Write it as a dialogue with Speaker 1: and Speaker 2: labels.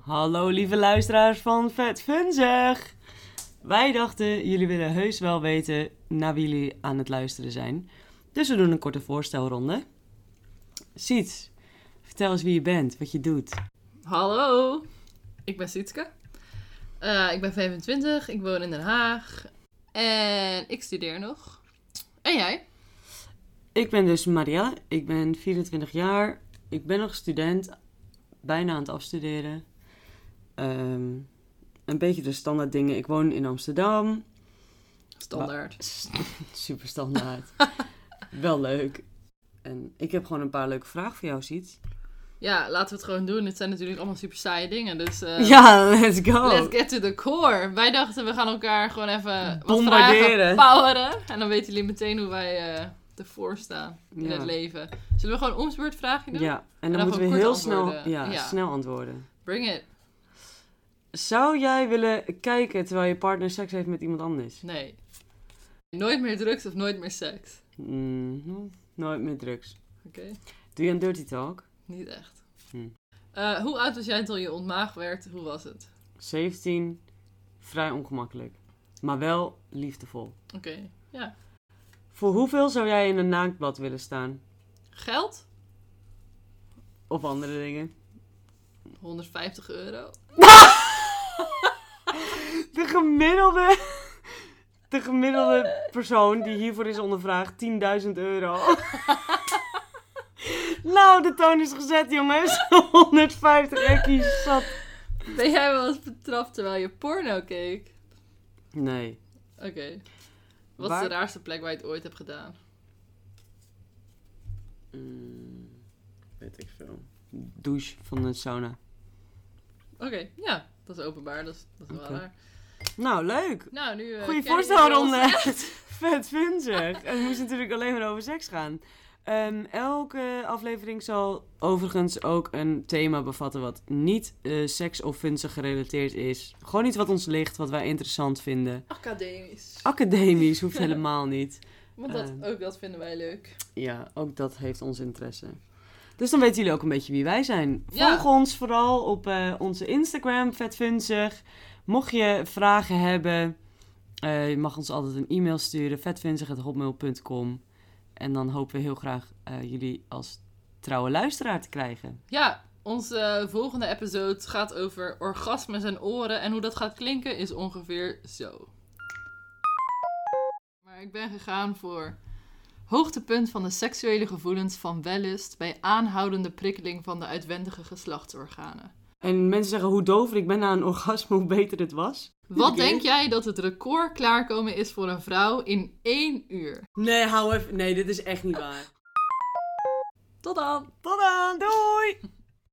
Speaker 1: Hallo lieve luisteraars van Vet Funzig. Wij dachten, jullie willen heus wel weten naar wie jullie aan het luisteren zijn. Dus we doen een korte voorstelronde. Siets, vertel eens wie je bent, wat je doet.
Speaker 2: Hallo, ik ben Sietske. Eh, ik ben 25, ik woon in Den Haag. En ik studeer nog. En jij?
Speaker 1: Ik ben dus Maria, ik ben 24 jaar. Ik ben nog student, bijna aan het afstuderen. Ehm, een beetje de standaard dingen. Ik woon in Amsterdam.
Speaker 2: Standaard.
Speaker 1: Super standaard. Wel leuk. En ik heb gewoon een paar leuke vragen voor jou, Siets.
Speaker 2: Ja, laten we het gewoon doen. Dit zijn natuurlijk allemaal super saaie dingen. Dus eh,
Speaker 1: ja, let's go.
Speaker 2: let's get to the core. Wij dachten, we gaan elkaar gewoon even wat
Speaker 1: Bombarderen.
Speaker 2: vragen poweren. En dan weten jullie meteen hoe wij eh, ervoor staan in
Speaker 1: Ja.
Speaker 2: het leven. Zullen we gewoon omsbeurt vragen doen?
Speaker 1: Ja, en dan,
Speaker 2: dan
Speaker 1: moeten we
Speaker 2: gewoon
Speaker 1: heel
Speaker 2: kort
Speaker 1: snel,
Speaker 2: antwoorden.
Speaker 1: ja,
Speaker 2: Ja.
Speaker 1: snel antwoorden.
Speaker 2: Bring it.
Speaker 1: Zou jij willen kijken terwijl je partner seks heeft met iemand anders?
Speaker 2: Nee. Nooit meer drugs of nooit meer seks.
Speaker 1: Mm, nooit meer drugs.
Speaker 2: Oké.
Speaker 1: Doe je een dirty talk?
Speaker 2: Niet echt.
Speaker 1: Hm.
Speaker 2: Eh, hoe oud was jij toen je ontmaagd werd? Hoe was het?
Speaker 1: 17, vrij ongemakkelijk. Maar wel liefdevol.
Speaker 2: Oké, ja.
Speaker 1: Voor hoeveel zou jij in een naaktblad willen staan?
Speaker 2: Geld?
Speaker 1: Of andere dingen?
Speaker 2: 150 euro.
Speaker 1: De gemiddelde, de gemiddelde persoon die hiervoor is ondervraagd, 10.000 euro. nou, de toon is gezet, jongens. 150 ekkies zat.
Speaker 2: Ben jij wel eens betrapt terwijl je porno keek?
Speaker 1: Nee.
Speaker 2: Oké. Wat
Speaker 1: Waar-
Speaker 2: is de raarste plek waar je het ooit hebt gedaan?
Speaker 1: Mm, weet ik veel. Douche van de sauna.
Speaker 2: Oké, ja. Dat is openbaar, dat is, dat is
Speaker 1: Oké.
Speaker 2: wel raar.
Speaker 1: Nou, leuk.
Speaker 2: Nou, nu... eh,
Speaker 1: Goeie
Speaker 2: kennen
Speaker 1: voorstelronde.
Speaker 2: jullie ons echt.
Speaker 1: Vet vunzig. En het moest natuurlijk alleen maar over seks gaan. Ehm, elke aflevering zal overigens ook een thema bevatten wat niet eh, seks of vunzig gerelateerd is. Gewoon iets wat ons ligt, wat wij interessant vinden.
Speaker 2: Academisch.
Speaker 1: Academisch hoeft helemaal niet.
Speaker 2: Want dat,
Speaker 1: Ehm.
Speaker 2: ook dat vinden wij leuk.
Speaker 1: Ja, ook dat heeft ons interesse. Dus dan weten jullie ook een beetje wie wij zijn.
Speaker 2: Ja.
Speaker 1: Volg ons vooral op eh, onze Instagram, vetfunzig. Mocht je vragen hebben, eh, je mag ons altijd een e-mail sturen, vetfunzig.hotmail.com. En dan hopen we heel graag eh, jullie als trouwe luisteraar te krijgen.
Speaker 2: Ja, onze eh, volgende episode gaat over orgasmes en oren. En hoe dat gaat klinken is ongeveer zo. Maar ik ben gegaan voor hoogtepunt van de seksuele gevoelens van wellust bij aanhoudende prikkeling van de uitwendige geslachtsorganen.
Speaker 1: En mensen zeggen hoe dover ik ben na een orgasme, hoe beter het was.
Speaker 2: Wat
Speaker 1: Oké.
Speaker 2: denk jij dat het record klaarkomen is voor een vrouw in één uur?
Speaker 1: Nee, hou even. Nee, dit is echt niet waar.
Speaker 2: Tot dan!
Speaker 1: Tot dan, doei!